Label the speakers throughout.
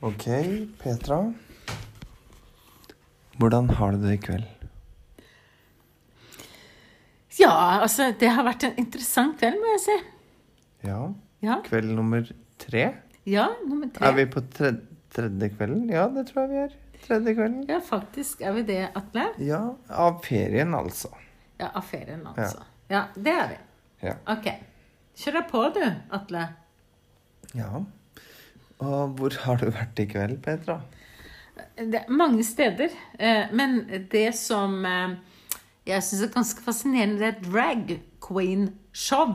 Speaker 1: Ok, Petra. Hvordan har du det i kveld?
Speaker 2: Ja, altså, det har vært en interessant kveld, må jeg si.
Speaker 1: Ja,
Speaker 2: Ja,
Speaker 1: kveld nummer tre.
Speaker 2: ja nummer
Speaker 1: Er
Speaker 2: tre.
Speaker 1: vi på tre tredje kvelden? Ja, det tror jeg vi er. Tredje kvelden.
Speaker 2: Ja, faktisk er vi det, Atle.
Speaker 1: Ja, av ferien altså.
Speaker 2: Ja, av ferien, altså. Ja, det er vi.
Speaker 1: Ja.
Speaker 2: Ok. Kjør deg på, du, Atle.
Speaker 1: ja. Og hvor har du vært i kveld, Petra?
Speaker 2: Det er mange steder, eh, men det som eh, jeg syns er ganske fascinerende, det er drag queen-show.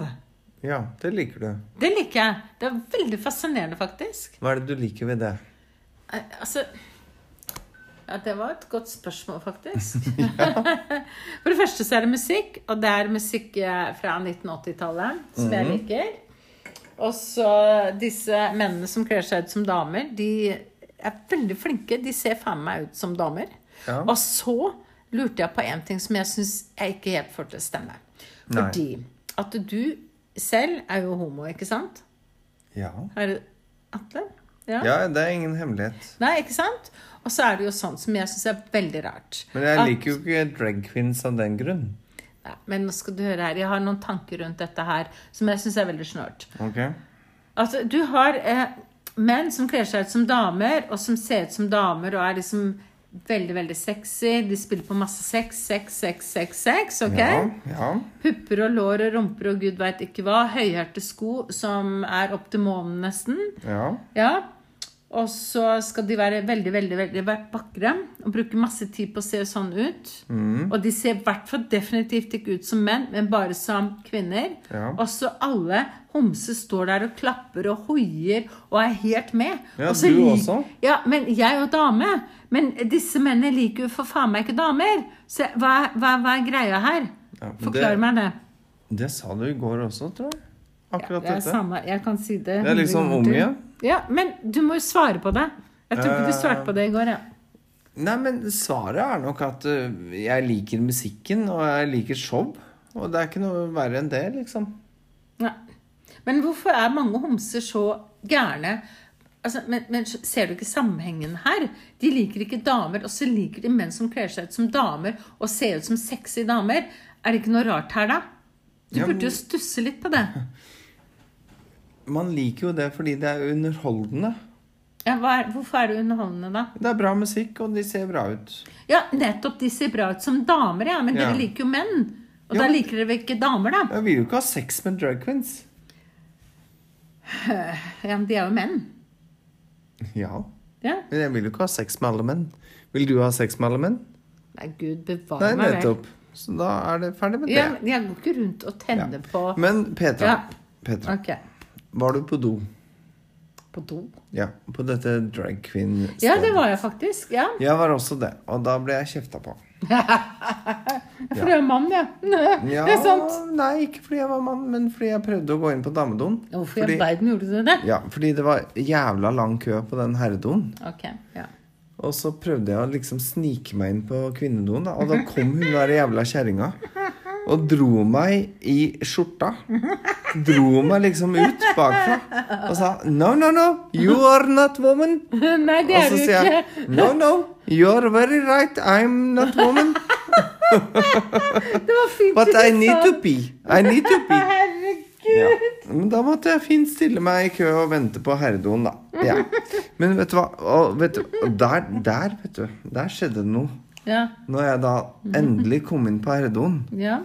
Speaker 1: Ja, det liker du.
Speaker 2: Det liker jeg. Det er veldig fascinerende, faktisk.
Speaker 1: Hva er det du liker ved det?
Speaker 2: Eh, Altså Ja, det var et godt spørsmål, faktisk. For det første så er det musikk, og det er musikk eh, fra 1980-tallet som jeg
Speaker 1: Mhm.
Speaker 2: liker. Og så disse mennene som kler seg ut som damer, de er veldig flinke. De ser faen meg ut som damer.
Speaker 1: Ja.
Speaker 2: Og så lurte jeg på en ting som jeg syns jeg ikke helt får til å stemme.
Speaker 1: Nei.
Speaker 2: Fordi at du selv er jo homo, ikke sant?
Speaker 1: Ja.
Speaker 2: Er du Atle?
Speaker 1: Ja, det er ingen hemmelighet.
Speaker 2: Nei, ikke sant? Og så er det jo sånn som jeg syns er veldig rart.
Speaker 1: Men jeg
Speaker 2: At-
Speaker 1: liker jo ikke drag queens av den grunn.
Speaker 2: Nei, Men nå skal du høre her, jeg har noen tanker rundt dette her som jeg syns er veldig snålt.
Speaker 1: Ok?
Speaker 2: Altså, du har eh, menn som kler seg ut som damer, og som ser ut som damer og er liksom veldig, veldig sexy. De spiller på masse sex, sex, sex, sex, sex. ok?
Speaker 1: Ja, ja.
Speaker 2: Pupper og lår og rumper og gud veit ikke hva. Høyhælte sko som er opp til månen nesten.
Speaker 1: Ja.
Speaker 2: Ja. Og så skal de være veldig, veldig veldig vakre og bruke masse tid på å se sånn ut.
Speaker 1: Mm.
Speaker 2: Og de ser i hvert fall definitivt ikke ut som menn, men bare som kvinner.
Speaker 1: Ja.
Speaker 2: Og så alle homser står der og klapper og hoier og er helt med.
Speaker 1: Ja,
Speaker 2: Og så
Speaker 1: du
Speaker 2: lik-
Speaker 1: også.
Speaker 2: Ja, men jeg er jo dame. Men disse mennene liker jo for faen meg ikke damer. Så hva, er- hva, hva er greia her?
Speaker 1: Ja, men
Speaker 2: Forklar
Speaker 1: det-
Speaker 2: meg det.
Speaker 1: Det sa du i går også, tror jeg.
Speaker 2: Ja,
Speaker 1: Akkurat
Speaker 2: det er
Speaker 1: dette.
Speaker 2: samme. Jeg kan si det.
Speaker 1: Det er liksom
Speaker 2: hundre
Speaker 1: om
Speaker 2: ganger til.
Speaker 1: igjen.
Speaker 2: Ja, men du må jo svare på det. Jeg tror ikke du
Speaker 1: Eh.
Speaker 2: svarte på det i går, ja.
Speaker 1: Nei, men svaret er nok at ø, jeg liker musikken, og jeg liker show. Og det er ikke noe verre enn det, liksom.
Speaker 2: Nei. Men hvorfor er mange homser så gærne? Altså, men, men ser du ikke sammenhengen her? De liker ikke damer, og så liker de menn som kler seg ut som damer og ser ut som sexy damer. Er det ikke noe rart her, da? Du
Speaker 1: Ja, men-
Speaker 2: burde jo stusse litt på det.
Speaker 1: Man liker jo det fordi det er underholdende.
Speaker 2: Ja, hva er, hvorfor er det underholdende, da?
Speaker 1: Det er bra musikk, og de ser bra ut.
Speaker 2: Ja, nettopp. De ser bra ut som damer, ja. Men
Speaker 1: Ja.
Speaker 2: dere liker jo menn. Og
Speaker 1: Ja,
Speaker 2: da
Speaker 1: men-
Speaker 2: liker dere vel ikke damer, da?
Speaker 1: Jeg vil jo ikke ha sex med drag queens.
Speaker 2: Ja, men de er jo menn.
Speaker 1: Ja,
Speaker 2: Ja.
Speaker 1: men jeg vil jo ikke ha sex med alle menn. Vil du ha sex med alle menn?
Speaker 2: Nei, gud
Speaker 1: Nei,
Speaker 2: bevare meg vel.
Speaker 1: nettopp. Så da er det ferdig med det.
Speaker 2: Ja, men jeg går ikke rundt og tenner på
Speaker 1: Men Petra,
Speaker 2: Ja.
Speaker 1: Petra,
Speaker 2: Ok.
Speaker 1: var du på do?
Speaker 2: På do?
Speaker 1: Ja, på dette drag queen-stedet.
Speaker 2: Ja, det var jeg faktisk. Ja.
Speaker 1: Jeg var også det, og da ble jeg kjefta på.
Speaker 2: For det er mann, ja.
Speaker 1: Ja,
Speaker 2: Det er sant.
Speaker 1: Nei, ikke fordi jeg var mann, men fordi jeg prøvde å gå inn på damedoen.
Speaker 2: Hvorfor i all
Speaker 1: fordi,
Speaker 2: verden gjorde du det?
Speaker 1: ja, fordi det var jævla lang kø på den herredoen.
Speaker 2: Ok, ja.
Speaker 1: Og så prøvde jeg å liksom snike meg inn på kvinnedoen, da, og da kom hun der jævla kjerringa og dro meg i skjorta. Dro meg liksom ut bakfra og sa 'No, no, no, you are not woman'.
Speaker 2: Nei, det
Speaker 1: Og
Speaker 2: er
Speaker 1: så
Speaker 2: du
Speaker 1: sier jeg
Speaker 2: ikke.
Speaker 1: 'No, no, you are very right, I'm not woman,
Speaker 2: Det var fint
Speaker 1: but
Speaker 2: du
Speaker 1: I
Speaker 2: sa
Speaker 1: need to
Speaker 2: det.
Speaker 1: be'. I need to be.
Speaker 2: Herregud.
Speaker 1: Ja. Men da måtte jeg fint stille meg i kø og vente på herredoen, da. Ja. Men vet du hva? Og, vet du, og der, der, vet du, der skjedde det noe.
Speaker 2: Ja.
Speaker 1: Når jeg da endelig kom inn på herredoen,
Speaker 2: ja.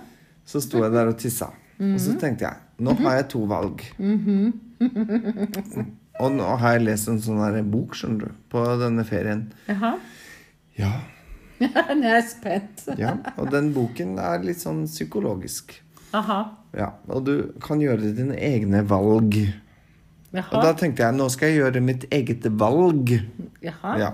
Speaker 1: så sto jeg der og tissa. Og så tenkte jeg nå har jeg to valg. Og nå har jeg lest en sånn her bok, skjønner du, på denne ferien.
Speaker 2: Jaha.
Speaker 1: Ja,
Speaker 2: Nå er jeg spent.
Speaker 1: ja. Og den boken er litt sånn psykologisk.
Speaker 2: Aha.
Speaker 1: Ja, Og du kan gjøre dine egne valg. Og
Speaker 2: Jaha.
Speaker 1: da tenkte jeg, nå skal jeg gjøre mitt eget valg.
Speaker 2: Jaha.
Speaker 1: Ja.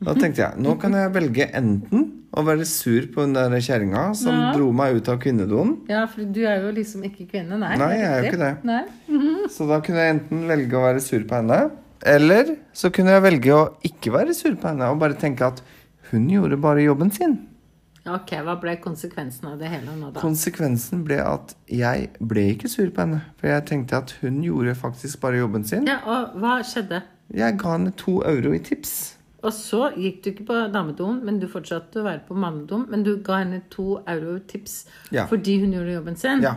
Speaker 1: Da tenkte jeg, nå kan jeg velge enten å være sur på den der kjerringa som
Speaker 2: Ja.
Speaker 1: dro meg ut av kvinnedoen.
Speaker 2: Ja, for du er jo liksom ikke kvinne, nei.
Speaker 1: Nei, jeg er jo
Speaker 2: riktig.
Speaker 1: ikke det.
Speaker 2: Nei.
Speaker 1: Så da kunne jeg enten velge å være sur på henne, eller så kunne jeg velge å ikke være sur på henne og bare tenke at hun gjorde bare jobben sin.
Speaker 2: Ok, hva ble konsekvensen av det hele nå, da?
Speaker 1: Konsekvensen ble at jeg ble ikke sur på henne, for jeg tenkte at hun gjorde faktisk bare jobben sin.
Speaker 2: Ja, og hva skjedde?
Speaker 1: Jeg ga henne to euro i tips.
Speaker 2: Og så gikk du ikke på damedoen, men du fortsatte å være på mannedoen. Men du ga henne to eurotips
Speaker 1: Ja.
Speaker 2: fordi hun gjorde jobben sin.
Speaker 1: Ja.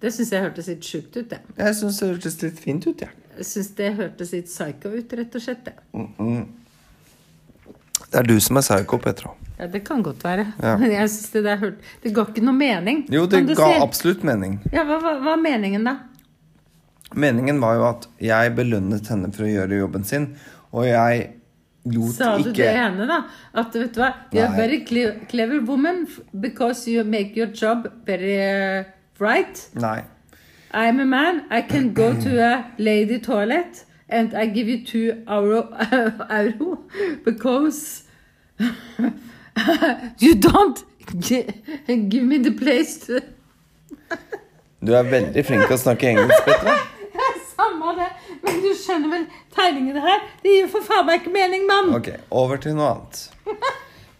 Speaker 2: Det syns jeg hørtes litt sjukt ut, det.
Speaker 1: Jeg syns det hørtes litt fint ut, jeg. Ja.
Speaker 2: Jeg syns det hørtes litt psycho ut, rett og slett. det.
Speaker 1: Det er du som er psycho, Petra.
Speaker 2: Ja, det kan godt være.
Speaker 1: Ja.
Speaker 2: Men jeg synes det der hørt... Det ga ikke noe mening.
Speaker 1: Jo, det
Speaker 2: Kan du
Speaker 1: ga
Speaker 2: si-
Speaker 1: absolutt mening.
Speaker 2: Ja, hva, hva, hva er meningen, da?
Speaker 1: Meningen var jo at jeg belønnet henne for å gjøre jobben sin, og jeg lot
Speaker 2: Sa du det
Speaker 1: ikke
Speaker 2: ene, da? At vet du hva You're
Speaker 1: Nei.
Speaker 2: a very cle- clever woman f- because you make your job very uh, right.
Speaker 1: Nei.
Speaker 2: I'm a man. I can go to a lady toilet and I give you two euro, euro because you don't gi- give me the place to
Speaker 1: Du er veldig flink til å snakke engelsk, Petra.
Speaker 2: Samme det, men du skjønner vel tegningene her? Det gir jo for faen meg ikke mening, mann!
Speaker 1: Ok, over til noe annet.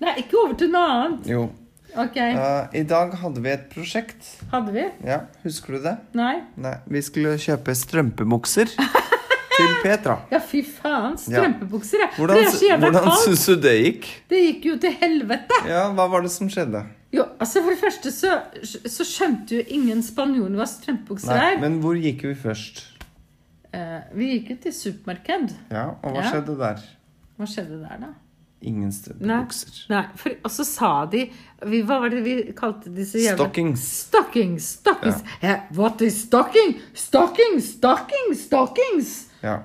Speaker 2: Nei, ikke over til noe annet.
Speaker 1: Jo.
Speaker 2: Ok,
Speaker 1: eh, I dag hadde vi et prosjekt.
Speaker 2: hadde vi?
Speaker 1: Ja, husker du det?
Speaker 2: Nei?
Speaker 1: Nei, vi skulle kjøpe strømpebukser til Petra.
Speaker 2: Ja, fy faen. Strømpebukser, ja. For
Speaker 1: Hvordan,
Speaker 2: Det er så jævla
Speaker 1: hvordan
Speaker 2: kaldt.
Speaker 1: syns du det gikk?
Speaker 2: Det gikk jo til helvete.
Speaker 1: Ja, hva var det som skjedde?
Speaker 2: Jo, altså For det første så, så skjønte jo ingen spanjolen hva strømpebukser
Speaker 1: Nei,
Speaker 2: er.
Speaker 1: men hvor gikk vi først?
Speaker 2: Eh, vi gikk jo til supermarked.
Speaker 1: Ja, og hva
Speaker 2: Ja.
Speaker 1: skjedde der?
Speaker 2: Hva skjedde der, da?
Speaker 1: Ingen
Speaker 2: Nei.
Speaker 1: strømpebukser.
Speaker 2: Nei for, og så sa de vi, Hva var det vi kalte disse jævla
Speaker 1: Stockings.
Speaker 2: Stockings, stockings. Eh, what is stocking? Stocking, stocking, stockings.
Speaker 1: Ja.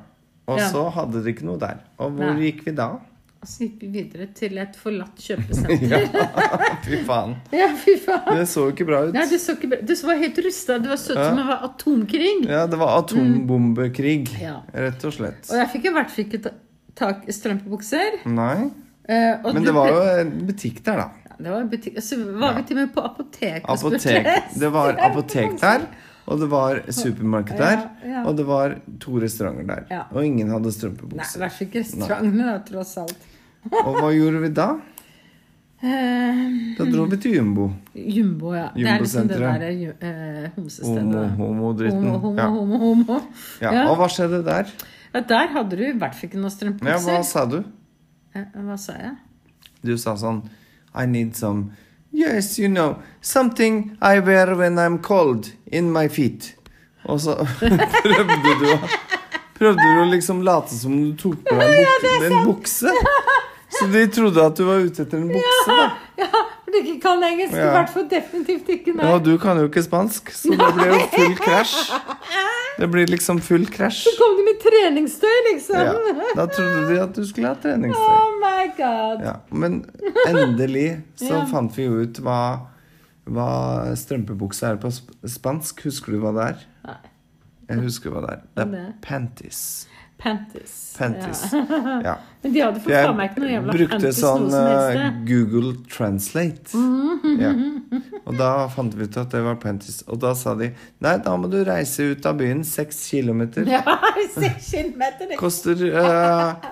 Speaker 1: Og
Speaker 2: Ja.
Speaker 1: så hadde de ikke noe der. Og hvor
Speaker 2: Nei.
Speaker 1: gikk vi da?
Speaker 2: Og så gikk vi videre til et forlatt kjøpesenter.
Speaker 1: Ja, fy faen.
Speaker 2: ja, fy faen.
Speaker 1: Det så jo ikke bra ut.
Speaker 2: Nei, du, så ikke, bra- du var helt rusta. Du var søt som det var atomkrig.
Speaker 1: Ja, det var atombombekrig,
Speaker 2: Mm. Ja.
Speaker 1: rett og slett.
Speaker 2: Og jeg fikk i hvert fall ikke ta- tak i strømpebukser.
Speaker 1: Nei,
Speaker 2: Eh, og
Speaker 1: men
Speaker 2: du
Speaker 1: det var
Speaker 2: ble-
Speaker 1: jo en butikk der, da.
Speaker 2: ja, det var butikk, Så var vi til og med på apotek og
Speaker 1: Apotek.
Speaker 2: spurte
Speaker 1: Det var apotek der, og det var supermarked der,
Speaker 2: Ja, ja.
Speaker 1: og det var to restauranter der.
Speaker 2: Ja.
Speaker 1: Og ingen hadde
Speaker 2: Nei, i
Speaker 1: strømpebukser.
Speaker 2: hvert fall ikke restaurantene, da, tross alt.
Speaker 1: Og hva gjorde vi da?
Speaker 2: Eh,
Speaker 1: Da dro vi til Jumbo.
Speaker 2: Jumbo, ja. Det er liksom det
Speaker 1: Jumbosenteret.
Speaker 2: derre ju- eh, homsestedet.
Speaker 1: Homo,
Speaker 2: da.
Speaker 1: homodritten.
Speaker 2: Homo, homo,
Speaker 1: Ja.
Speaker 2: homo, homo.
Speaker 1: Ja.
Speaker 2: Ja.
Speaker 1: Og hva skjedde der?
Speaker 2: Ja, der hadde du i hvert fall ikke
Speaker 1: Ja,
Speaker 2: noen strømpebukser.
Speaker 1: hva sa du?
Speaker 2: Eh, Hva sa jeg?
Speaker 1: Du sa sånn I need some Yes, you know. Something I wear when I'm cold. In my feet. Og så prøvde du å Prøvde du å liksom late som du tok på deg en, buk en bukse. Så de trodde at du var ute etter en bukse, da.
Speaker 2: Ja, for du ikke kan engelsk. I
Speaker 1: Ja.
Speaker 2: hvert fall definitivt ikke nei.
Speaker 1: Ja, og du kan jo ikke spansk, så det blir jo full krasj. Det blir liksom full krasj.
Speaker 2: Så kom du med treningstøy, liksom.
Speaker 1: Ja. Da trodde de at du skulle ha treningstøy.
Speaker 2: Oh my god.
Speaker 1: Ja, men endelig så
Speaker 2: Ja.
Speaker 1: fant vi jo ut hva, hva strømpebukse er på sp- spansk. Husker du hva det er?
Speaker 2: Nei.
Speaker 1: Jeg husker hva det er. Det er
Speaker 2: Nei.
Speaker 1: panties.
Speaker 2: Panties.
Speaker 1: Panties.
Speaker 2: Ja.
Speaker 1: Ja.
Speaker 2: Men de hadde
Speaker 1: For
Speaker 2: for faen meg ikke noe
Speaker 1: jeg
Speaker 2: jævla
Speaker 1: brukte
Speaker 2: panties
Speaker 1: sånn
Speaker 2: noe som helst. Mm-hmm.
Speaker 1: eh,
Speaker 2: det.
Speaker 1: Google Translate. Ja. Og da fant vi ut at det var panties. Og da sa de nei, da må du reise ut av byen seks kilometer.
Speaker 2: Ja, seks kilometer. det-
Speaker 1: Koster eh,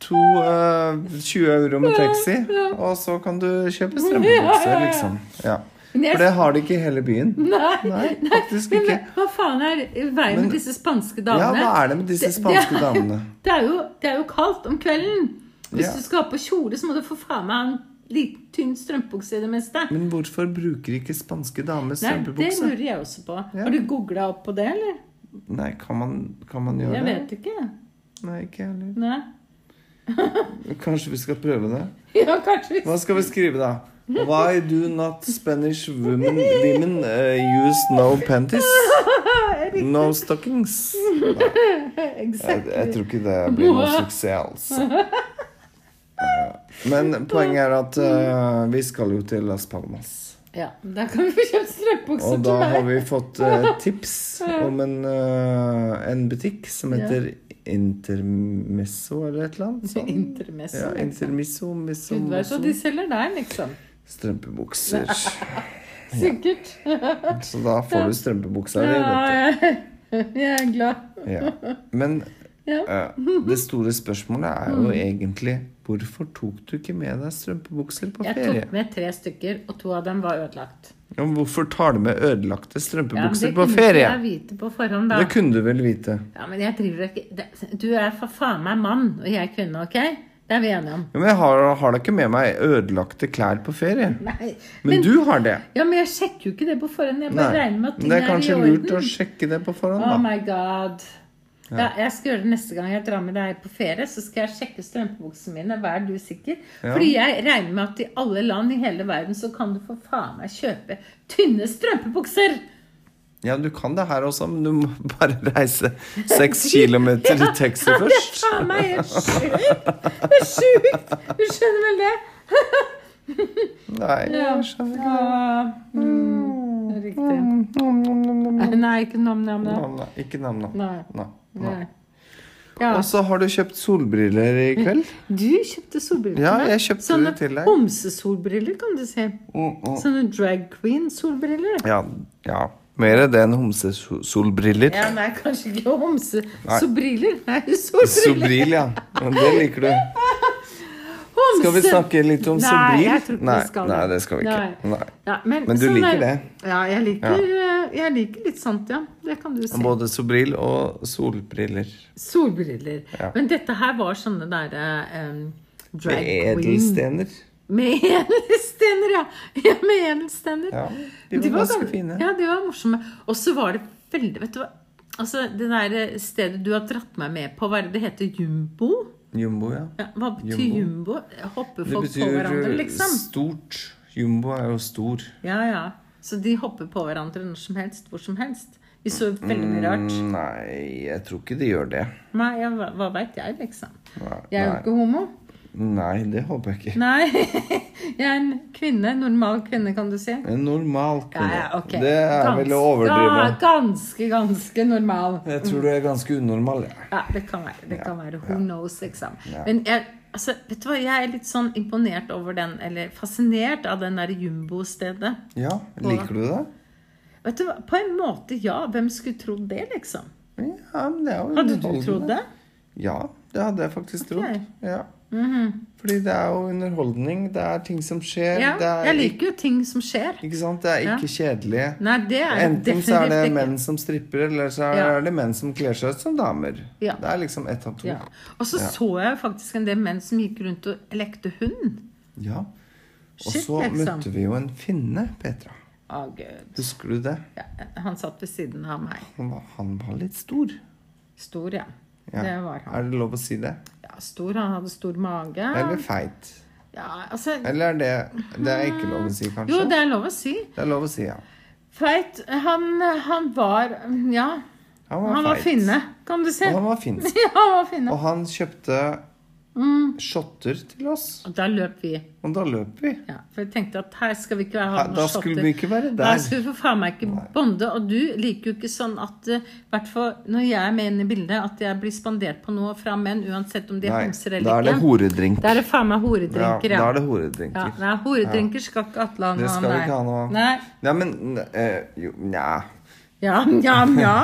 Speaker 1: to, eh, 20 euro med taxi, og så kan du kjøpe strømpebukser,
Speaker 2: Ja, ja, ja.
Speaker 1: liksom. Ja.
Speaker 2: Men jeg-
Speaker 1: For det har de ikke i hele byen.
Speaker 2: Nei,
Speaker 1: Nei, faktisk
Speaker 2: Men
Speaker 1: ikke.
Speaker 2: hva faen er i veien med disse spanske
Speaker 1: Ja,
Speaker 2: damene?
Speaker 1: hva er det med disse
Speaker 2: Det- det
Speaker 1: spanske
Speaker 2: er-
Speaker 1: damene?
Speaker 2: Det er jo, det er jo kaldt om kvelden. Hvis
Speaker 1: Ja.
Speaker 2: du skal ha på kjole, så må du for faen meg ha en liten, tynn strømpebukse i det meste.
Speaker 1: Men hvorfor bruker ikke spanske damer
Speaker 2: Nei, det
Speaker 1: strømpebukse?
Speaker 2: lurer jeg også på.
Speaker 1: Ja.
Speaker 2: Har du googla opp på det, eller?
Speaker 1: Nei, kan man, kan man gjøre
Speaker 2: Jeg
Speaker 1: det?
Speaker 2: vet ikke.
Speaker 1: Nei, ikke heller.
Speaker 2: Nei.
Speaker 1: Kanskje vi skal prøve det?
Speaker 2: Ja, kanskje vi
Speaker 1: Hva skal vi skrive, da? Why do not Spanish women, women eh, use no panties? No stockings? Jeg,
Speaker 2: Exakt.
Speaker 1: jeg tror ikke det blir noe suksess, altså. Eh, Men poenget er at eh, vi skal jo til Las Palmas.
Speaker 2: Ja, da kan vi få kjøpt strømpebukser
Speaker 1: Og da
Speaker 2: til
Speaker 1: har
Speaker 2: meg.
Speaker 1: vi fått eh, tips om en, eh, en butikk som heter Intermesso eller et eller annet sånt.
Speaker 2: Intermesse.
Speaker 1: Ja,
Speaker 2: liksom.
Speaker 1: Intermisso, misso,
Speaker 2: Gud vet hva
Speaker 1: mosso.
Speaker 2: de selger der, liksom.
Speaker 1: Strømpebukser.
Speaker 2: Sikkert.
Speaker 1: Så da får du strømpebuksa di,
Speaker 2: Ja,
Speaker 1: vet
Speaker 2: jeg, jeg er glad.
Speaker 1: du. Ja. Men
Speaker 2: Ja.
Speaker 1: eh, det store spørsmålet er jo egentlig hvorfor tok du ikke med deg strømpebukser på
Speaker 2: Jeg
Speaker 1: ferie?
Speaker 2: tok med tre stykker, og to av dem var ødelagt.
Speaker 1: Ja, men hvorfor tar du med ødelagte
Speaker 2: Ja, men
Speaker 1: strømpebukser
Speaker 2: det
Speaker 1: på
Speaker 2: kunne
Speaker 1: ferie?
Speaker 2: jeg vite på forhånd, da.
Speaker 1: Det kunne du vel vite.
Speaker 2: Ja, men jeg driver ikke det- Du er for faen meg mann, og jeg er kvinne, OK? Det er vi enige om.
Speaker 1: Ja, men jeg har, har da ikke med meg ødelagte klær på ferie.
Speaker 2: Nei.
Speaker 1: Men du har det.
Speaker 2: Ja, men jeg sjekker jo ikke det på forhånd. Jeg bare
Speaker 1: Nei.
Speaker 2: regner med at
Speaker 1: Men det
Speaker 2: ting
Speaker 1: er
Speaker 2: er, i
Speaker 1: kanskje
Speaker 2: orden.
Speaker 1: lurt å sjekke det på forhånd,
Speaker 2: Oh
Speaker 1: da.
Speaker 2: my god. Ja, jeg skal gjøre det neste gang jeg drar med deg på ferie. Så skal jeg sjekke strømpebuksene mine. Vær du sikker.
Speaker 1: Ja.
Speaker 2: Fordi jeg regner med at i alle land i hele verden så kan du for faen meg kjøpe tynne strømpebukser!
Speaker 1: Ja, du kan det her også, men du må bare reise seks kilometer til Texas
Speaker 2: Ja, det er
Speaker 1: først.
Speaker 2: faen meg helt sjukt! Det er sjukt! Du skjønner vel det?
Speaker 1: Nei, jeg skjønner ikke.
Speaker 2: Ja. Mm, det er riktig.
Speaker 1: Nom, nom, nom, nom.
Speaker 2: Nei, ikke nam-nam-nam.
Speaker 1: Nam, nam. Ikke nam-nam.
Speaker 2: Nei.
Speaker 1: Nei.
Speaker 2: Nei.
Speaker 1: Nei.
Speaker 2: Ja. Mm.
Speaker 1: Og så har du kjøpt solbriller i kveld.
Speaker 2: Du kjøpte solbriller
Speaker 1: Ja,
Speaker 2: til meg.
Speaker 1: jeg kjøpte
Speaker 2: Sånne
Speaker 1: det til deg.
Speaker 2: homsesolbriller, kan du si.
Speaker 1: Mm, mm.
Speaker 2: Sånne drag queen-solbriller.
Speaker 1: Ja, ja. Mer det enn homsesolbriller.
Speaker 2: Ja, nei, kanskje ikke
Speaker 1: Nei.
Speaker 2: homsesolbriller. Nei, solbriller.
Speaker 1: Sobril, ja. Men det liker du.
Speaker 2: Homse.
Speaker 1: Skal vi snakke litt om
Speaker 2: Nei,
Speaker 1: sobril?
Speaker 2: jeg tror ikke
Speaker 1: nei,
Speaker 2: vi skal
Speaker 1: nei,
Speaker 2: det.
Speaker 1: det skal vi ikke.
Speaker 2: Nei.
Speaker 1: Nei.
Speaker 2: Ja, men,
Speaker 1: Men du
Speaker 2: sånn
Speaker 1: liker
Speaker 2: er-
Speaker 1: det?
Speaker 2: Ja, jeg liker, eh, jeg liker litt sånt, ja. Det kan du si.
Speaker 1: Både sobril og solbriller.
Speaker 2: Solbriller.
Speaker 1: Ja.
Speaker 2: Men dette her var sånne derre um, drag
Speaker 1: Med
Speaker 2: queen.
Speaker 1: edelstener.
Speaker 2: Med edelstener, ja. ja! Med edelstener.
Speaker 1: Ja, de var ganske
Speaker 2: gam-
Speaker 1: fine.
Speaker 2: Ja, de var morsomme. Og så var det veldig Vet du hva Altså, det der stedet du har dratt meg med på, hva er det det heter? Jumbo?
Speaker 1: Jumbo, ja.
Speaker 2: Ja, hva betyr jumbo? Hopper
Speaker 1: Det
Speaker 2: folk på
Speaker 1: betyr
Speaker 2: hverandre,
Speaker 1: eh,
Speaker 2: liksom?
Speaker 1: stort. Jumbo er jo stor.
Speaker 2: Ja, ja. Så de hopper på hverandre når som helst, hvor som helst. Vi så veldig mye rart.
Speaker 1: Mm, Nei, jeg tror ikke de gjør det.
Speaker 2: Nei, ja, hva, hva veit jeg, liksom?
Speaker 1: Nei,
Speaker 2: Jeg er jo
Speaker 1: nei.
Speaker 2: ikke homo.
Speaker 1: nei det håper jeg ikke.
Speaker 2: Nei. Jeg er en kvinne. Normal kvinne, kan du si.
Speaker 1: En normal
Speaker 2: Ja,
Speaker 1: kvinne.
Speaker 2: ja, ok.
Speaker 1: Det er vel å
Speaker 2: Ganske-
Speaker 1: overdrive.
Speaker 2: Ja, ganske, ganske normal.
Speaker 1: Jeg tror du er ganske unormal. Ja.
Speaker 2: Ja, det kan være. Det kan være. Who knows, liksom.
Speaker 1: Ja.
Speaker 2: Men jeg, altså, vet du hva, jeg er litt sånn imponert over den, eller fascinert av den der jumbo-stedet.
Speaker 1: ja, liker du det?
Speaker 2: Vet du hva, på en måte, ja. Hvem skulle trodd det, liksom?
Speaker 1: Ja, men det er jo
Speaker 2: Hadde du
Speaker 1: underholdende.
Speaker 2: trodd det?
Speaker 1: Ja, det hadde jeg faktisk
Speaker 2: Ok. Mhm.
Speaker 1: trodd. Ja. Fordi det er jo underholdning, det er ting som skjer.
Speaker 2: Ja,
Speaker 1: det er
Speaker 2: jeg liker jo ting som skjer.
Speaker 1: Ikke, ikke sant? Det er
Speaker 2: Ja.
Speaker 1: ikke kjedelig.
Speaker 2: Nei, det er jeg
Speaker 1: Enten så er
Speaker 2: definitivt
Speaker 1: det
Speaker 2: ikke.
Speaker 1: menn som stripper, eller så er
Speaker 2: Ja.
Speaker 1: det menn som kler seg ut som damer.
Speaker 2: Ja.
Speaker 1: Det er liksom ett av to.
Speaker 2: Ja.
Speaker 1: Ja.
Speaker 2: Og så så jeg faktisk en del menn som gikk rundt og lekte hund.
Speaker 1: Og
Speaker 2: Shit,
Speaker 1: så
Speaker 2: liksom.
Speaker 1: møtte vi jo en finne, Petra.
Speaker 2: Å, gud.
Speaker 1: Husker du det?
Speaker 2: Ja, han satt ved siden av meg.
Speaker 1: Han var, han var litt stor.
Speaker 2: Stor, ja.
Speaker 1: Ja.
Speaker 2: Det var han.
Speaker 1: Er det lov å si det?
Speaker 2: Ja, stor. Han hadde stor mage.
Speaker 1: Eller feit?
Speaker 2: Ja, altså
Speaker 1: Eller er det Det er ikke lov å si, kanskje?
Speaker 2: Jo, det er lov å si.
Speaker 1: det er lov å si, ja.
Speaker 2: Feit. Han, han var Ja.
Speaker 1: Han var,
Speaker 2: Han var
Speaker 1: feit.
Speaker 2: finne, kan du si.
Speaker 1: Og han var finsk.
Speaker 2: Ja, han var finne.
Speaker 1: Og han kjøpte
Speaker 2: Mm.
Speaker 1: shotter til oss.
Speaker 2: Og da løp vi.
Speaker 1: Og da løp vi.
Speaker 2: Ja, for jeg tenkte at her skal vi ikke ha
Speaker 1: Her-
Speaker 2: noen
Speaker 1: da skulle
Speaker 2: shotter.
Speaker 1: vi ikke være
Speaker 2: Da
Speaker 1: der.
Speaker 2: skulle vi for faen meg ikke bonde. Og du liker jo ikke sånn at eh, hvertfall når jeg er med inn i bildet, at jeg blir spandert på noe fra menn, uansett om de er
Speaker 1: Nei,
Speaker 2: homser
Speaker 1: da er
Speaker 2: eller
Speaker 1: det
Speaker 2: ikke.
Speaker 1: horedrink.
Speaker 2: Da er det faen meg
Speaker 1: ja,
Speaker 2: horedrinker,
Speaker 1: da
Speaker 2: ja.
Speaker 1: er det
Speaker 2: ja.
Speaker 1: horedrinker.
Speaker 2: Nei, horedrinker skal ikke Atle ha
Speaker 1: Det
Speaker 2: noe av,
Speaker 1: skal vi ikke ha noe av.
Speaker 2: Nei.
Speaker 1: Ja, men eh, Jo, nja.
Speaker 2: Ja, nja, nja.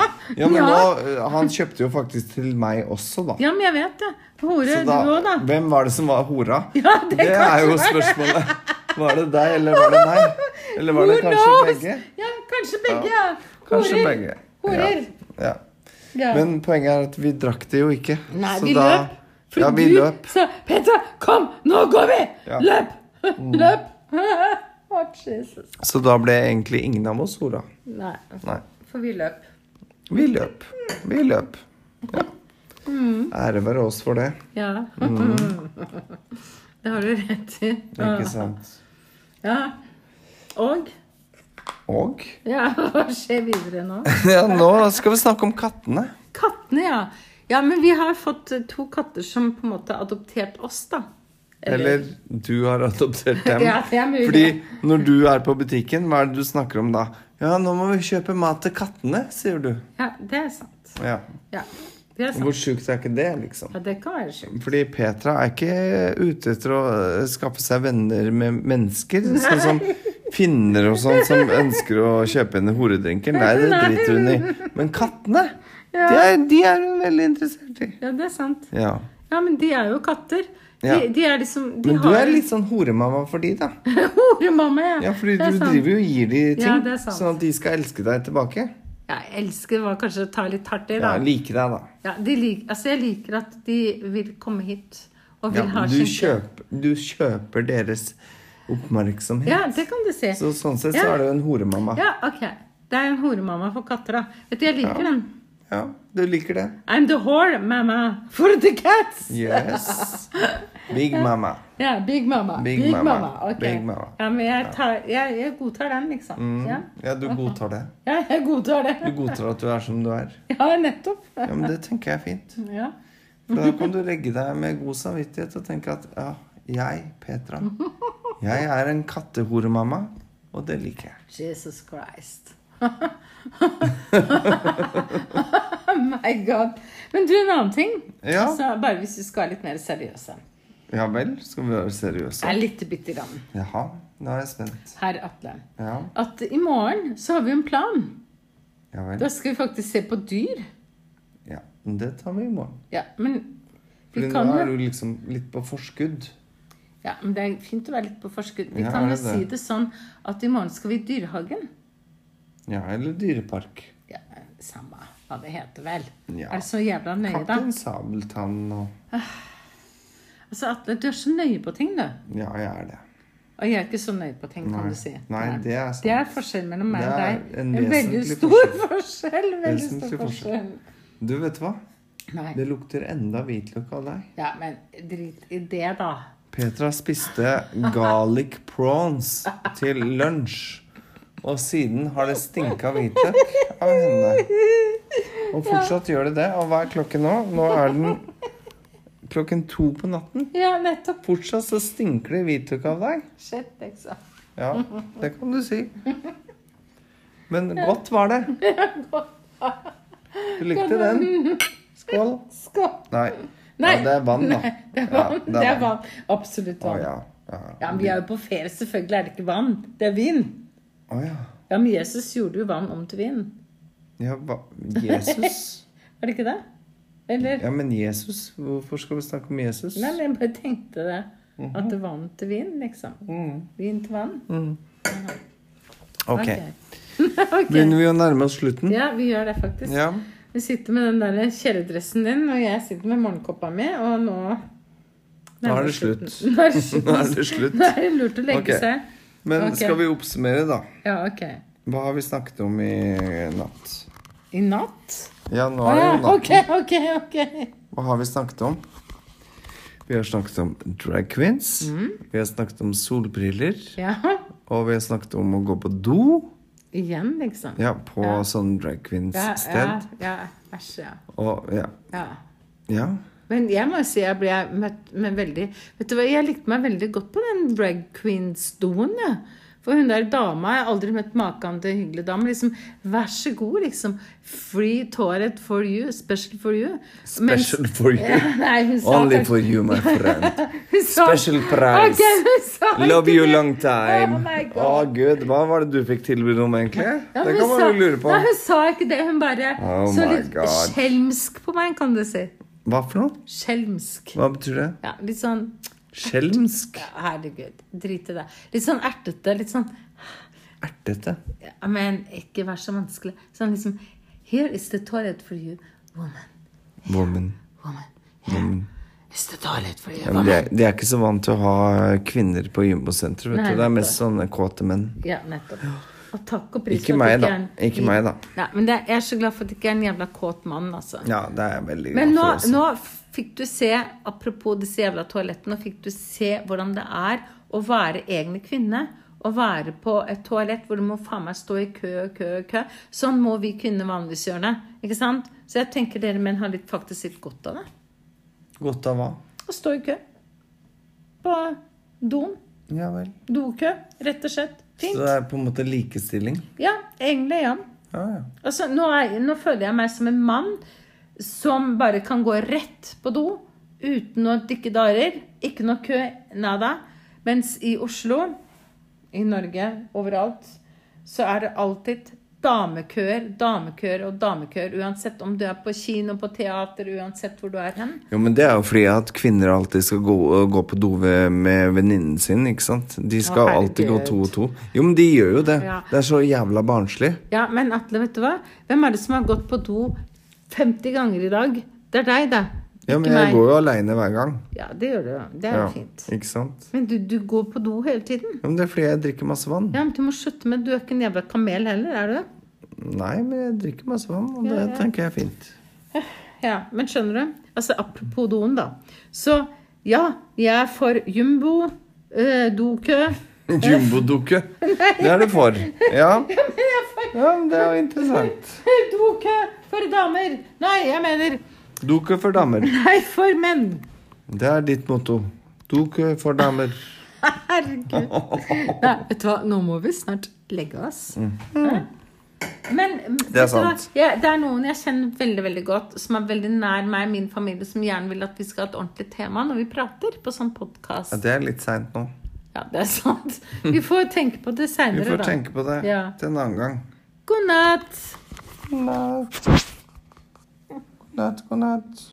Speaker 1: Ja, men
Speaker 2: ja.
Speaker 1: nå, eh, han kjøpte jo faktisk til meg også, da.
Speaker 2: ja, men jeg vet det. Hore,
Speaker 1: Så da,
Speaker 2: du òg, da.
Speaker 1: hvem var det som var hora?
Speaker 2: Ja, det
Speaker 1: er
Speaker 2: kanskje
Speaker 1: jo
Speaker 2: var det.
Speaker 1: spørsmålet. Var det deg, eller var det meg? Eller var det
Speaker 2: Who
Speaker 1: kanskje
Speaker 2: knows?
Speaker 1: begge?
Speaker 2: Ja, kanskje begge. Ja.
Speaker 1: Kanskje
Speaker 2: Horer.
Speaker 1: begge.
Speaker 2: Horer.
Speaker 1: Ja.
Speaker 2: Ja.
Speaker 1: Ja. Men poenget er at vi drakk det jo ikke.
Speaker 2: Nei,
Speaker 1: Så
Speaker 2: vi
Speaker 1: da-
Speaker 2: løp. For
Speaker 1: ja, vi
Speaker 2: du
Speaker 1: løp.
Speaker 2: sa 'Petra, kom, nå går vi!'
Speaker 1: Ja. Mm.
Speaker 2: Løp! Løp! Å, Jesus.
Speaker 1: Så da ble egentlig ingen av oss hora.
Speaker 2: Nei, altså.
Speaker 1: Nei.
Speaker 2: for vi løp.
Speaker 1: Vi løp. Vi løp. Ja.
Speaker 2: Mm.
Speaker 1: Ære være oss for det.
Speaker 2: Ja. Det har du rett i.
Speaker 1: Mm. Ikke sant?
Speaker 2: Ja. Og
Speaker 1: Og
Speaker 2: Ja, hva skjer videre nå?
Speaker 1: ja, nå skal vi snakke om kattene.
Speaker 2: Kattene, ja. Ja, men vi har fått eh, to katter som på en måte har adoptert oss, da.
Speaker 1: Eller du har adoptert dem.
Speaker 2: Ja, det er mulig.
Speaker 1: Fordi når du er på butikken, hva er det du snakker om da? Ja, nå må vi kjøpe mat til kattene, sier du.
Speaker 2: Ja, det er sant.
Speaker 1: Ja.
Speaker 2: Ja, det er sant.
Speaker 1: Hvor sjukt er ikke det, liksom?
Speaker 2: Ja, det kan være sjukt.
Speaker 1: Fordi Petra er ikke ute etter å øh, skaffe seg venner med mennesker. Sånn som finner og sånn som ønsker å kjøpe henne horedrinker. Nei, det
Speaker 2: Nei.
Speaker 1: driter hun i. Men kattene, de er, de er hun veldig interessert i.
Speaker 2: Ja, det er sant.
Speaker 1: Ja.
Speaker 2: Ja, men de er jo katter. De,
Speaker 1: Ja.
Speaker 2: de er liksom de
Speaker 1: Men du
Speaker 2: har
Speaker 1: er litt sånn horemamma for de, da.
Speaker 2: horemamma, ja.
Speaker 1: Ja, fordi
Speaker 2: Det er
Speaker 1: du
Speaker 2: sant.
Speaker 1: driver jo og gir de ting,
Speaker 2: Ja, det er sant.
Speaker 1: sånn at de skal elske deg tilbake.
Speaker 2: Ja, Jeg elsker var kanskje å ta litt hardt i, da.
Speaker 1: Ja, like deg, da.
Speaker 2: Ja, de lik, altså jeg liker at de vil komme hit og
Speaker 1: Ja,
Speaker 2: vil ha
Speaker 1: du,
Speaker 2: sin
Speaker 1: kjøper, du kjøper deres oppmerksomhet.
Speaker 2: Ja, det kan du si.
Speaker 1: Så sånn sett så
Speaker 2: Ja.
Speaker 1: er du en horemamma.
Speaker 2: Ja, ok. Det er en horemamma for katter, da. Vet du, jeg liker den.
Speaker 1: Ja, du liker det.
Speaker 2: I'm the whore mamma for the cats!
Speaker 1: Yes. Big mama.
Speaker 2: Ja, big mamma.
Speaker 1: Big mamma.
Speaker 2: ok.
Speaker 1: Big mamma. Mm.
Speaker 2: Ja, men jeg, tar, jeg, jeg godtar den, liksom. Ja.
Speaker 1: Ja, du godtar det.
Speaker 2: ja, jeg godtar
Speaker 1: Du
Speaker 2: det.
Speaker 1: godtar at du er som du er.
Speaker 2: Ja, nettopp.
Speaker 1: Ja, men det tenker jeg er fint.
Speaker 2: Ja.
Speaker 1: For da kan du legge deg med god samvittighet og tenke at ja, jeg, Petra, jeg er en kattehoremamma, og det liker jeg.
Speaker 2: Jesus Christ. My God. Men du, en annen ting.
Speaker 1: Ja.
Speaker 2: Altså, bare hvis vi skal være litt mer seriøse.
Speaker 1: Ja vel, skal vi være seriøse?
Speaker 2: Er litt bitte grann.
Speaker 1: Jaha, nå er jeg spent.
Speaker 2: Herr Atle.
Speaker 1: Ja,
Speaker 2: At i morgen så har vi en plan.
Speaker 1: ja vel.
Speaker 2: Da skal vi faktisk se på dyr.
Speaker 1: Ja, men det tar vi i morgen.
Speaker 2: Ja, men vi
Speaker 1: Fordi nå
Speaker 2: kan
Speaker 1: er
Speaker 2: jo
Speaker 1: du liksom litt på forskudd.
Speaker 2: ja, men Det er fint å være litt på forskudd. Vi
Speaker 1: Ja,
Speaker 2: kan
Speaker 1: er
Speaker 2: jo
Speaker 1: det det?
Speaker 2: si det sånn at i morgen skal vi i dyrehagen.
Speaker 1: Ja, eller dyrepark.
Speaker 2: Ja, Samme hva det heter, vel.
Speaker 1: Ja.
Speaker 2: Er det så jævla nøye, da?
Speaker 1: Kaptein Sabeltann og
Speaker 2: Altså, Atle, du er så nøye på ting, du.
Speaker 1: Ja, jeg er det.
Speaker 2: Og jeg er ikke så nøyd på ting, kan
Speaker 1: Nei.
Speaker 2: du si.
Speaker 1: Nei, det er sant.
Speaker 2: Det er forskjell mellom meg og
Speaker 1: Det er
Speaker 2: deg.
Speaker 1: en
Speaker 2: En, veldig
Speaker 1: vesentlig
Speaker 2: stor forskjell. Veldig
Speaker 1: Vesentlig
Speaker 2: stor forskjell.
Speaker 1: forskjell. Du, vet du hva?
Speaker 2: Nei.
Speaker 1: Det lukter enda hvitløk av deg.
Speaker 2: Ja, men drit i det, da.
Speaker 1: Petra spiste garlic prawns til lunsj. Og siden har det stinka hvitløk av henne. Og fortsatt gjør det det. Og hva er klokken nå? Nå er den klokken to på natten.
Speaker 2: Ja, nettopp.
Speaker 1: Fortsatt så stinker det hvitløk av deg.
Speaker 2: Shit, liksom.
Speaker 1: Ja, det kan du si. Men godt var det. Du likte den. Skål.
Speaker 2: Skål.
Speaker 1: Nei.
Speaker 2: Nei.
Speaker 1: Ja, det er vann, da.
Speaker 2: Nei, det er
Speaker 1: Ja,
Speaker 2: vann.
Speaker 1: det er
Speaker 2: det er
Speaker 1: vann.
Speaker 2: vann. Absolutt
Speaker 1: Å
Speaker 2: vann.
Speaker 1: ja. Ja.
Speaker 2: Ja, men vi er jo på ferie. Selvfølgelig er det ikke vann. Det er vin.
Speaker 1: Å ja.
Speaker 2: Ja, men Jesus gjorde jo vann om til vin.
Speaker 1: ja hva? Jesus?
Speaker 2: Var det ikke det? Eller?
Speaker 1: Ja, men Jesus? Hvorfor skal vi snakke om Jesus?
Speaker 2: Nei, men jeg bare tenkte det. At
Speaker 1: Mhm.
Speaker 2: det vann til vin, liksom. Vin til vann.
Speaker 1: Ok.
Speaker 2: Ok. Ok.
Speaker 1: Begynner vi å nærme oss slutten?
Speaker 2: Ja, vi gjør det faktisk.
Speaker 1: Ja.
Speaker 2: Du sitter med den der kjeledressen din, og jeg sitter med morgenkåpa mi, og nå
Speaker 1: Nå er det slutt.
Speaker 2: Nå er det slutt.
Speaker 1: Nå er det slutt.
Speaker 2: Nå er det lurt å legge
Speaker 1: Ok.
Speaker 2: seg.
Speaker 1: Men
Speaker 2: Ok.
Speaker 1: skal vi oppsummere, da?
Speaker 2: Ja, ok.
Speaker 1: Hva har vi snakket om i natt?
Speaker 2: I natt?
Speaker 1: Ja, nå
Speaker 2: Å
Speaker 1: er det
Speaker 2: ja,
Speaker 1: jo natt.
Speaker 2: Ah, ok, ok, ok.
Speaker 1: Hva har vi snakket om? Vi har snakket om drag queens.
Speaker 2: Mm.
Speaker 1: Vi har snakket om solbriller.
Speaker 2: Ja.
Speaker 1: Og vi har snakket om å gå på do.
Speaker 2: Igjen, liksom.
Speaker 1: Ja, på sånn drag
Speaker 2: ja,
Speaker 1: queens-sted.
Speaker 2: ja, æsj, ja.
Speaker 1: Og ja.
Speaker 2: ja.
Speaker 1: Ja.
Speaker 2: Men jeg må jo si jeg ble møtt med veldig Vet du hva, jeg likte meg veldig godt på den drag queens-doen, jeg. For hun der dama, jeg har aldri møtt maken til en hyggelig dame. liksom, Vær så god, liksom. Free toilet for you. Special for you.
Speaker 1: Special for you.
Speaker 2: Nei, hun sa
Speaker 1: Only
Speaker 2: kanskje-
Speaker 1: for you, my friend.
Speaker 2: hun sa-
Speaker 1: special prize.
Speaker 2: Ok, hun sa ikke
Speaker 1: Love you
Speaker 2: det.
Speaker 1: long time.
Speaker 2: Oh my
Speaker 1: Å,
Speaker 2: God.
Speaker 1: gud. Hva var det du fikk tilbud om, egentlig?
Speaker 2: Ja,
Speaker 1: det kan
Speaker 2: men hun
Speaker 1: man jo
Speaker 2: sa-
Speaker 1: lure på.
Speaker 2: Nei, hun sa ikke det. Hun bare
Speaker 1: Oh
Speaker 2: så
Speaker 1: my
Speaker 2: litt
Speaker 1: God.
Speaker 2: skjelmsk på meg, kan du si.
Speaker 1: Hva for noe?
Speaker 2: Skjelmsk.
Speaker 1: Hva betyr det?
Speaker 2: Ja, litt sånn
Speaker 1: Skjelmsk?
Speaker 2: ja, Herregud. Drit i det. Litt sånn ertete. Litt sånn
Speaker 1: Ertete?
Speaker 2: ja, Men ikke vær så vanskelig. Sånn liksom Here is the toilet for you, woman.
Speaker 1: Woman.
Speaker 2: Woman. Here is the toilet for you,
Speaker 1: Ja, men de,
Speaker 2: woman.
Speaker 1: er, de er ikke så vant til å ha kvinner på gymbosenteret. vet
Speaker 2: Nei,
Speaker 1: du. Det er mest sånne kåte menn.
Speaker 2: Ja, nettopp. Og takk og pris
Speaker 1: Ikke
Speaker 2: for at
Speaker 1: meg,
Speaker 2: du
Speaker 1: da.
Speaker 2: er en-
Speaker 1: Ikke meg, da.
Speaker 2: Nei, men det, jeg er så glad for at det ikke er en jævla kåt mann, altså.
Speaker 1: Ja, det er jeg veldig
Speaker 2: Men nå,
Speaker 1: glad for. også.
Speaker 2: nå fikk du se, apropos disse jævla toalettene, nå fikk du se hvordan det er å være egne kvinne. Å være på et toalett hvor du må faen meg stå i kø, kø, kø. Sånn må vi kvinner vanligvis gjøre det. Ikke sant? Så jeg tenker dere menn har litt, faktisk litt godt av det.
Speaker 1: Godt av hva?
Speaker 2: Å stå i kø. På doen.
Speaker 1: Ja vel.
Speaker 2: Dokø, rett og slett.
Speaker 1: Så
Speaker 2: Fint.
Speaker 1: det er på en måte likestilling?
Speaker 2: Ja, egentlig, ja.
Speaker 1: Ja, ja.
Speaker 2: Altså, nå, er, nå føler jeg meg som en mann som bare kan gå rett på do uten å dykke darer. Ikke noe kø, nada. Mens i Oslo, i Norge, overalt, så er det alltid damekøer, damekøer og damekøer. Uansett om du er på kino, på teater, uansett hvor du er hen.
Speaker 1: Jo, men det er jo fordi at kvinner alltid skal gå, gå på do ved- med venninnen sin, ikke sant? De skal
Speaker 2: Å,
Speaker 1: alltid gå
Speaker 2: herregud.
Speaker 1: to og to. Jo, men de gjør jo det.
Speaker 2: Ja.
Speaker 1: Det er så jævla barnslig.
Speaker 2: Ja, men Atle, vet du hva? Hvem er det som har gått på do 50 ganger i dag? Det er deg, da.
Speaker 1: Ja, men jeg går jo aleine hver gang.
Speaker 2: Ja, det gjør du. jo. Det er jo
Speaker 1: Ja,
Speaker 2: fint.
Speaker 1: ikke sant?
Speaker 2: Men du, du går på do hele tiden.
Speaker 1: Ja, men det er fordi jeg drikker masse vann.
Speaker 2: Ja, men Du må slutte med Du er ikke en jævla kamel heller, er du det?
Speaker 1: Nei, men jeg drikker masse vann, og det tenker jeg er fint.
Speaker 2: Ja, men skjønner du? Altså, apropos doen, da. Så ja, jeg er for jumbo, eh, dokø.
Speaker 1: Jumbo-dukke. Det er du for. Ja.
Speaker 2: Ja, men jeg er for
Speaker 1: ja, men det er jo interessant.
Speaker 2: dokø for damer! Nei, jeg mener
Speaker 1: Dukke for damer.
Speaker 2: Nei, for menn!
Speaker 1: Det er ditt motto. Dukke for damer.
Speaker 2: Herregud. Nei, vet du hva, nå må vi snart legge oss. Hæ? Men mm, vet du hva?
Speaker 1: sant.
Speaker 2: Jeg, det er noen jeg kjenner veldig veldig godt, som er veldig nær meg og min familie, som gjerne vil at vi skal ha et ordentlig tema når vi prater på sånn podkast.
Speaker 1: Ja, det er litt seint nå.
Speaker 2: Ja, det er sant. Vi får tenke på det
Speaker 1: Vi
Speaker 2: seinere,
Speaker 1: får tenke på det
Speaker 2: Ja.
Speaker 1: til en annen gang.
Speaker 2: God natt.
Speaker 1: God natt. God natt, god natt.